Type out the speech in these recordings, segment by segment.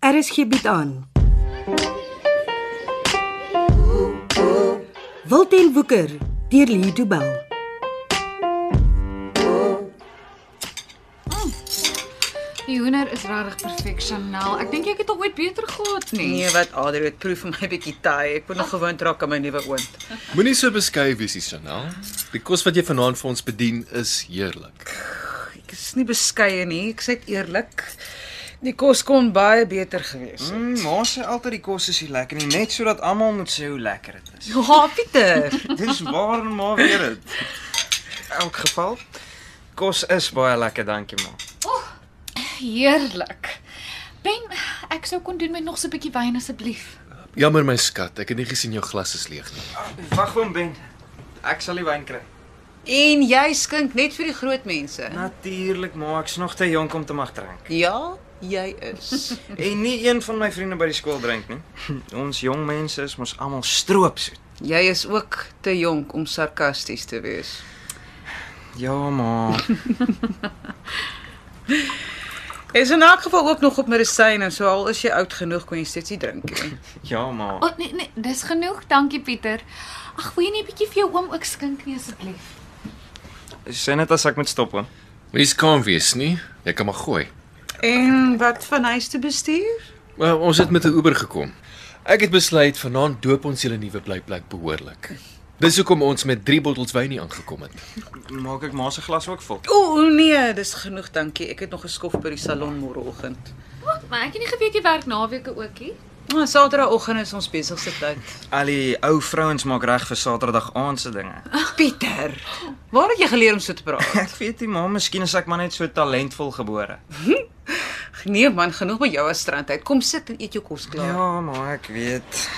RSG bied Er aan. Wilten Woeker deur Lee Du Bell. Die hoender is regtig perfek, Chanel. Ek dink ek het al ooit beter gehad nie. Nee, wat Adri, dit proef vir my bietjie taai. Ek moet nog gewoond raak aan my nuwe oond. Moenie so beskei wees, Chanel. Die kos wat jy vanaand vir ons bedien is heerlik. Ek is nie beskeie nie, ek sê dit eerlik. Die kos kon baie beter gewees het. Mm, maar sê altyd die kos is nie lekker nie, net sodat almal moet sê hoe lekker dit is. Ja, Pieter. Dis waar en maar weer dit. In elk geval kos is baie lekker, dankie ma. Heerlik. Ben, ek sou kon doen met nog so 'n bietjie wyn asseblief. Jammer my skat, ek het nie gesien jou glas is leeg nie. Ah, Wag oom Ben. Ek sal die wyn kry. En jy skink net vir die groot mense. Natuurlik, maar ek's nog te jonk om te mag drink. Ja, jy is. En nie een van my vriende by die skool drink nie. Ons jong mense is mos almal stroopsoet. Jy is ook te jonk om sarkasties te wees. Ja, ma. Jy is in elk geval ook nog op medisyne, so al is jy oud genoeg kon jy steeds nie drink nie. Ja, ma. O oh, nee nee, dis genoeg. Dankie Pieter. Ag, wil jy nie 'n bietjie vir jou oom ook skink nie asseblief? Sê net as ek moet stop hoor. Mens kan wees nie. Jy kan maar gooi. En wat van huis te bestuur? Maar ons het met 'n Uber gekom. Ek het besluit vanaand doop ons julle nuwe blyplek behoorlik. Dis hoekom ons met 3 bottels wyn hier aangekom het. Maak ek ma se glas ook vol. O o, nee, dis genoeg, dankie. Ek het nog geskof by die salon môreoggend. Wat? Maar ek het nie geweet jy werk naweke ookie. Maar Nou, Saterdagoggend is ons besigste tyd. Al die ou vrouens maak reg vir Saterdag aand se dinge. Pieter, waar het jy geleer om so te praat? Ek weet nie, ma, miskien is ek maar net so talentvol gebore. Nee man, genoeg met jou as strandheid. Kom sit en eet jou kos klaar. Ja, maar ek weet.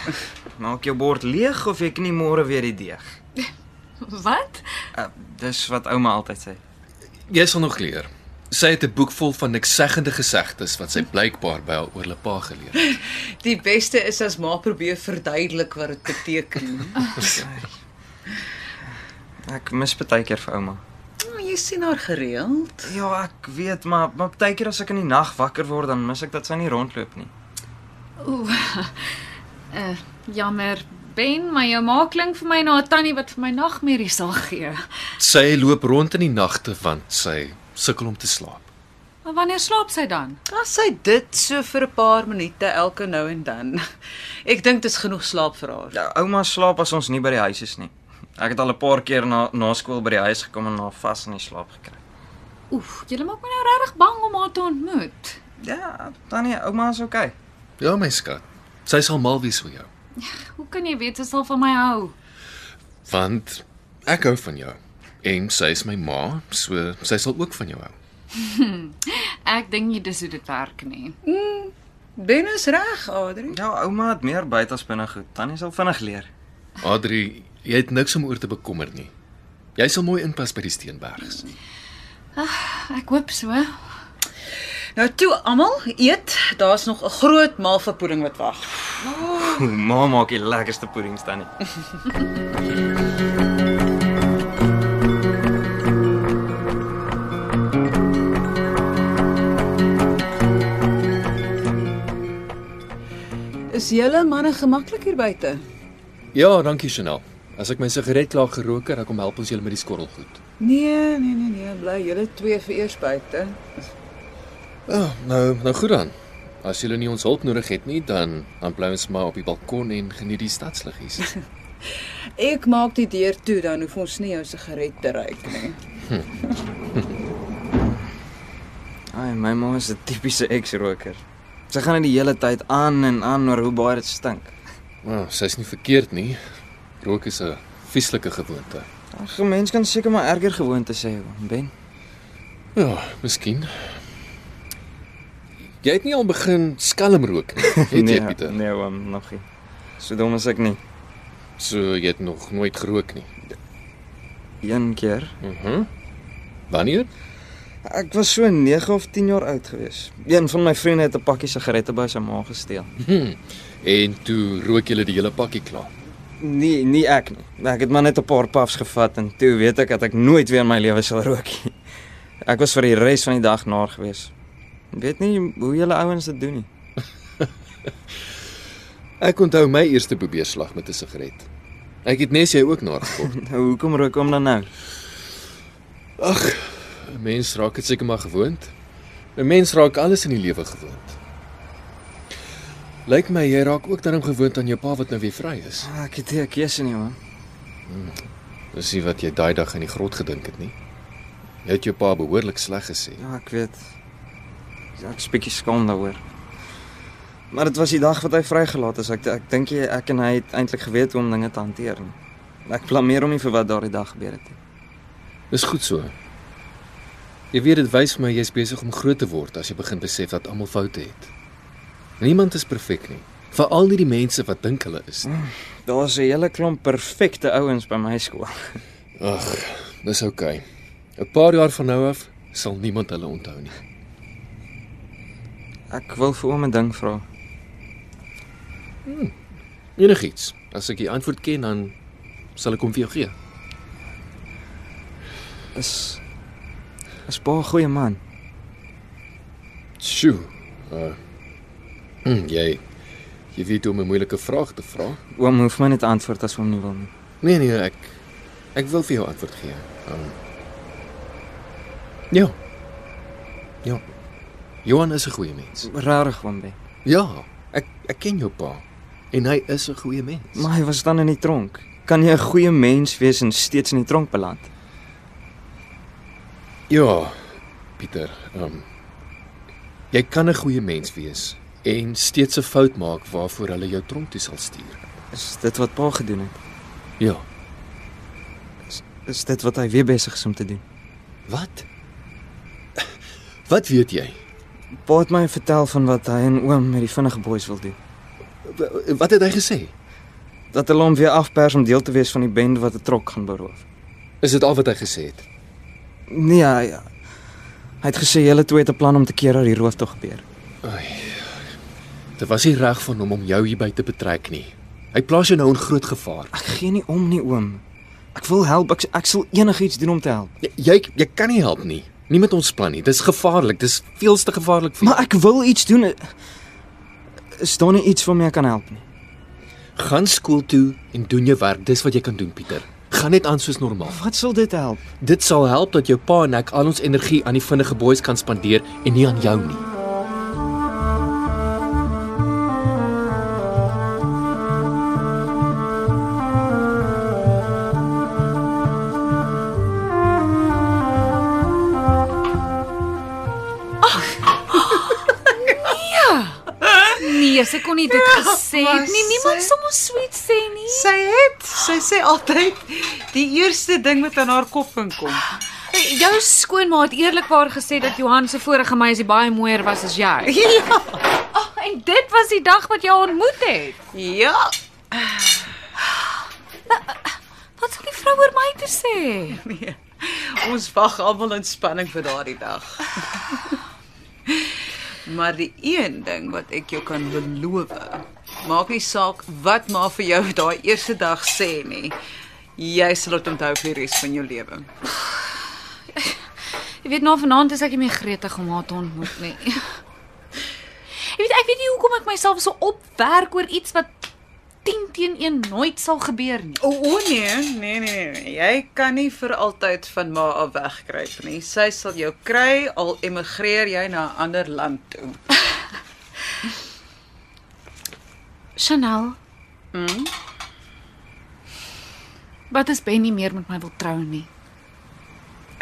Maak jou bord leeg of ek nie môre weer die deeg. Wat? Uh, dis wat ouma altyd sê. Jy sal nog leer. Sy het 'n boek vol van niksegende gesegdes wat sy blykbaar by haar oorlepa geleer het. Die beste is as ma probeer verduidelik wat dit beteken. Ah, Ek mis baie keer vir ouma. Oh, jy sien haar gereeld. Ja, ek weet, maar maar baie keer as ek in die nag wakker word, dan mis ek dat sy nie rondloop nie. Ooh. Uh, jammer. Ben, maar jou ma klink vir my na 'n tannie wat vir my nagmerries sal gee. Sy loop rond in die nagte want sy sukkel om te slaap. Maar wanneer slaap sy dan? As sy dit so vir 'n paar minute elke nou en dan. Ek dink dit is genoeg slaap vir haar. Ja, ouma slaap as ons nie by die huis is nie. Ek het al 'n paar keer na na skool by die huis gekom en haar vas in die slaap gekry. Oef, jy maak my nou regtig bang om haar te ontmoet. Ja, tannie, ouma is oukei. Okay. Ja my skat, sy sal mal wees vir jou Hoe kan jy weet sy sal van my hou? want ek hou van jou en sy is my ma, so sy sal ook van jou hou. Ek dink nie dis hoe dit werk nie. Ben is reg, Adri. Ja, ouma het meer buite as binne goed. Tannie sal vinnig leer. Adri, jy het niks om oor te bekommer nie. Jy sal mooi inpas by die Steenbergs. Ek hoop so. Nou toe almal eet, daar's nog 'n groot maal vir pudding wat wag. Oeh, ma maak die lekkerste puddings tannie. Is julle manne gemaklik hier buite? Ja, dankie Chanel. As ek my sigaret klaar gerook het, dan kom help ons julle met die skorrelgoed. Nee, nee, nee, nee, bly julle twee vir eers buite. Ja, oh, nou, nou goed dan. As julle nie ons hulp nodig het nie, dan dan bly ons maar op die balkon en geniet die stadsliggies. Ek maak die deur toe dan hoef ons nie jou sigaret te ruik nie. Ai, my ma is 'n tipiese ex-roker. Sy gaan net die hele tyd aan en aan oor hoe baie dit stink. Maar oh, sy's nie verkeerd nie. Rook is 'n vieslike gewoonte. Ag, 'n mens kan seker maar erger gewoontes hê, oom Ben. Ja, miskien. Jy het nie al begin skelm rook nie, het jy Pieter? Nee, oom, nog nie. So dom is ek nie. So jy het nog nooit gerook nie. Een keer. Mhm. Mm Wanneer? Ek was so 9 of 10 jaar oud gewees. Een van my vriende het 'n pakkie sigarette by sy ma gesteel. En toe rook jy die hele pakkie klaar. Nee, nie ek nie. Ek het maar net 'n paar puffs gevat en toe weet ek dat ek nooit weer in my lewe sal rook nie. Ek was vir die res van die dag naar gewees. Ek weet nie hoe julle ouens dit doen nie. Ek onthou my eerste probeerslag met 'n sigaret. Ek het nes jy ook nagekom. Nou hoekom rook hom dan nou? 'n Mens raak dit seker maar gewoond. 'n Mens raak alles in die lewe gewoond. Lyk my jy raak ook daarom gewoond aan jou pa wat nou weer vry is. Ah, Ek het nie 'n keuse nie man. Dis nie wat jy daai dag in die grot gedink het nie. Jy het jou pa behoorlik sleg gesê. Ja, ek weet. Ja, Ek is bietjie skaam daaroor. Maar dit was die dag wat hy vrygelaat is. Ek ek dink jy ek en hy het eintlik geweet hoe om dinge te hanteer. nie. Ek blameer hom nie vir wat daardie dag gebeur het nie. Dis goed so. Jy weet dit wys my jy's besig om groot te word as jy begin besef dat almal foute het. Niemand is perfek nie, veral nie die mense wat dink hulle is. nie. Daar's 'n hele klomp perfekte ouens by my skool. Ag, dis oukei. Okay. 'n Paar jaar van nou af sal niemand hulle onthou nie. Ek wil vir oom 'n ding vra. Enigiets. As ek die antwoord ken, dan sal ek hom vir jou gee. Is is pa 'n goeie man? Sjoe. Uh. hm, Jy jy weet hoe om 'n moeilike vraag te vra. Oom hoef my net te antwoord as oom nie wil nie. Nee nee, ek ek wil vir jou antwoord gee. Um, ja. Ja. Johan is 'n goeie mens. Rarig oom ben. Ja, ek ek ken jou pa en hy is 'n goeie mens. Maar hy was dan in die tronk. Kan jy 'n goeie mens wees en steeds in die tronk beland? ja, Pieter. Um, jy kan 'n goeie mens wees en steeds 'n fout maak waarvoor hulle jou tronk toe sal stuur. Is dit wat pa gedoen het? Ja. Is dit wat hy weer besig is om te doen? Wat? Wat weet jy? Pa het my vertel van wat hy en oom met die vinnige boeis wil doen. W- Wat het hy gesê? Dat hulle hom weer afpers om deel te wees van die bende wat 'n trok gaan beroof. Is dit al wat hy gesê het? Nee, hy, hy het gesê julle twee het 'n plan om te keer dat die rooftog gebeur. Dit was nie reg van hom om jou hierby te betrek nie. Hy plaas jou nou in groot gevaar. Ek gee nie om nie, oom. Ek wil help. Ek, ek sal enigiets doen om te help. Jy jy, jy kan nie help nie. Nie met ons plan nie. Dis gevaarlik. Dis veelste gevaarlik vir jou. Maar ek wil iets doen. Is daar nie iets waarmee ek kan help nie? gaan skool toe en doen jou werk. Dis wat jy kan doen, Pieter. Gaan net aan soos normaal. Wat sal dit help? Dit sal help dat jou pa en ek al ons energie aan die vinnige boeis kan spandeer en nie aan jou nie. Nee, sy kon nie dit gesê maar het nie. Niemand Ja, sy- sal ons sweet sê nie. Sy het, sy sê altyd die eerste ding wat aan haar kop inkom. Jou skoonma het eerlikwaar gesê dat Johan se vorige meisie baie mooier was as jy. Ja. Ag, oh, en dit was die dag wat jy haar ontmoet het. Ja. Wat sal die vrou oor my te sê? Nee. Ons wag almal in spanning vir daardie dag. Maar die een ding wat ek jou kan beloof, maak nie saak wat maar vir jou daai eerste dag sê nie. Jy sal dit onthou vir die res van jou lewe. Jy weet nou vanaand is ek nie meer gretig om haar te ontmoet nie. Jy weet ek weet nie hoekom ek myself so opwerk oor iets wat 10 teen 1 nooit sal gebeur nie. O, o nee, nee, nee, nee. Jy kan nie vir altyd van ma af wegkruip nie. Sy sal jou kry al emigreer jy na 'n ander land toe. Chanel. Hm? Wat as Ben nie meer met my wil trou nie?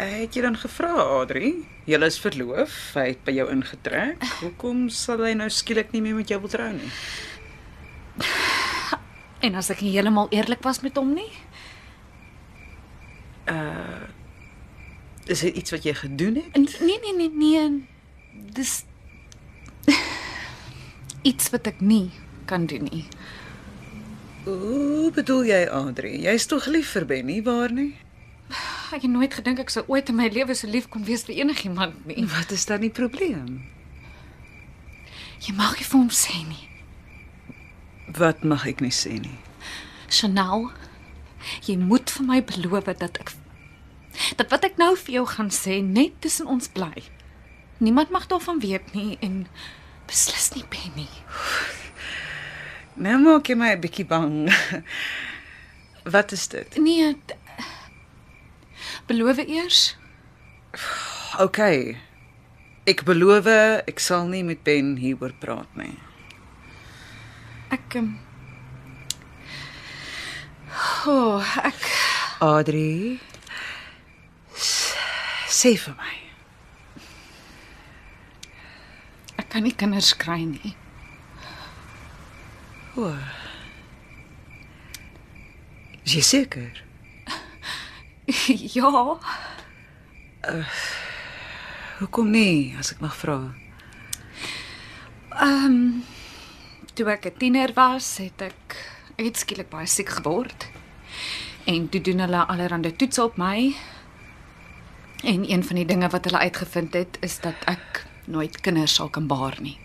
Het jy dan gevra, Adri? Julle is verloof, hy het by jou ingetrek. Hoekom sal hy nou skielik nie meer met jou wil trou nie? En as ek nie heeltemal eerlik was met hom nie? Is dit iets wat jy gedoen het? En- Nee nee nee nee. Dis iets wat ek nie kan doen nie. Ooh, bedoel jy, Adri? Jy's tog lief vir Ben nie, waar nie? Ek het nooit gedink ek sou ooit in my lewe so lief kon wees vir enigiemand nie. Wat is dan die probleem? Jy mag nie vir hom sê nie. Wat mag ek nie sê nie. Chanel, jy moet vir my beloof dat ek dat wat ek nou vir jou gaan sê net tussen ons bly. Niemand mag daarvan weet nie en beslis nie Ben nie. Nou maak jy my 'n bietjie bang. Wat is dit? Nee. d- Beloof eers. OK. Ek beloof ek sal nie met Ben hieroor praat nie. Ek ehm O, oh, ek Adri. s- Sê vir my. ek kan nie kinders kry nie. Is jy seker? ja, Hoekom nie, as ek mag vra? ehm um, toe ek 'n tiener was, het ek ek het skielik baie siek geword. En toe doen hulle allerlei toetse op my. En een van die dinge wat hulle uitgevind het, is dat ek nooit kinders sal kan baar nie.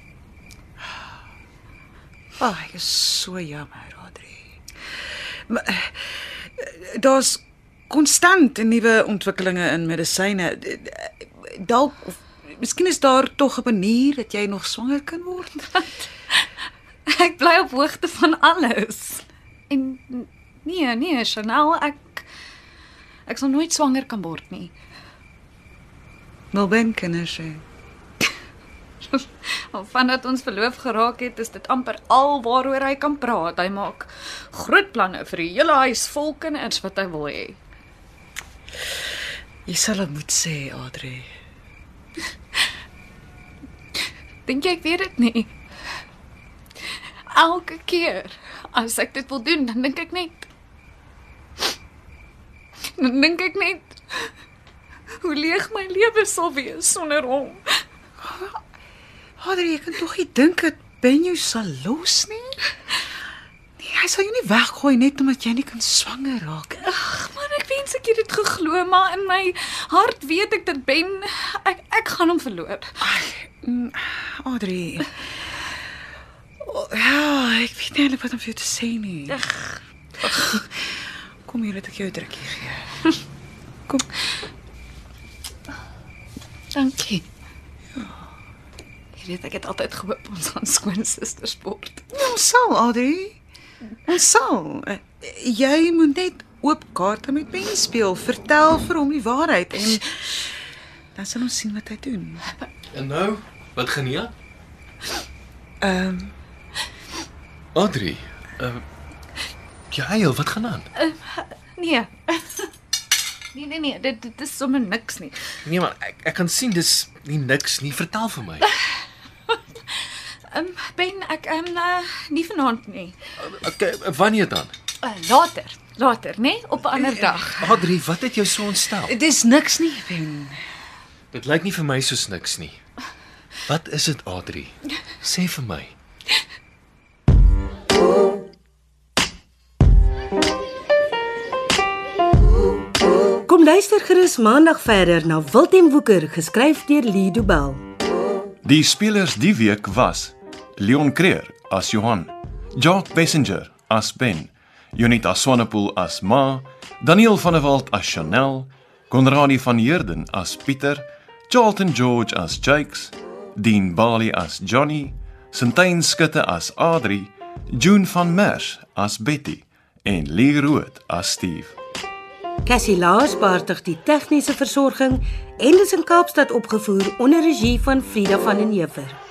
Ag, oh, ek is so jammer, Adri. Maar eh, daar's konstant nuwe ontwikkelinge in medisyne. Dalk of miskien is daar tog 'n manier dat jy nog swanger kan word. Ek bly op hoogte van alles. En nee, nee, Chanel, ek ek sal nooit swanger kan word nie. Wil Ben kinders hê. Al vandat ons verloof geraak het, is dit amper al waaroor hy kan praat. Hy maak groot planne vir die hele huis vol kinders wat hy wil hê. Jy sal dit moet sê, Adri. Dink jy ek weet dit nie? Elke keer as ek dit wil doen, dan dink ek net dan dink ek net hoe leeg my lewe sal wees sonder hom. Adri, jy kan tog nie dink dat Ben jou sal los nie. Nee, hy sal jou nie weggooi net omdat jy nie kan swanger raak nie. Man, ek wens ek het dit geglo, maar in my hart weet ek dat Ben ek ek gaan hom verloor. mm, Audrey. O, ja, ek weet nie eintlik wat om vir jou te sê nie. Ag. Kom hier, laat ek jou 'n drukkie gee. Dankie. Jy weet ek het altyd gehoop ons gaan skoon susters word. Ons sal, Audrey. Ons sal. Eh, Jy moet net oop kaarte met Ben speel. Vertel vir hom die waarheid en dan sal ons sien wat hy doen. En nou, wat gaan jy? Ehm Adri. Uh, jy, wat gaan aan? Nee. Nee nee nee, dit dit is sommer niks nie. Nee man, ek ek kan sien dis nie niks nie. Vertel vir my. Ehm um, Ben, ek ehm um, uh, nie vanaand nie. Okay, wanneer dan? Uh, later, later, nê, nee? op 'n ander dag. Adri, wat het jou so ontstel? Dis niks nie, Ben. Dit lyk nie vir my soos niks nie. Wat is dit, Adri? Sê vir my. Kom luister gerus maandag verder na Wilten Woeker geskryf deur Lido Bell. Die spelers die week was Leon Creer as Johan, Jock Passenger as Ben, Jonita Swanepoel as Ma, Daniel van der Walt as Chanel, Konradi van Heerden as Pieter, Charlton George as Jakes, Dean Bali as Johnny, Sintyn Skutte as Adri, June van Merwe as Betty en Lee Rood as Steve. Cassie Lars beheer die tegniese versorging en dit is in Kaapstad opgevoer onder regie van Frida van den Heever.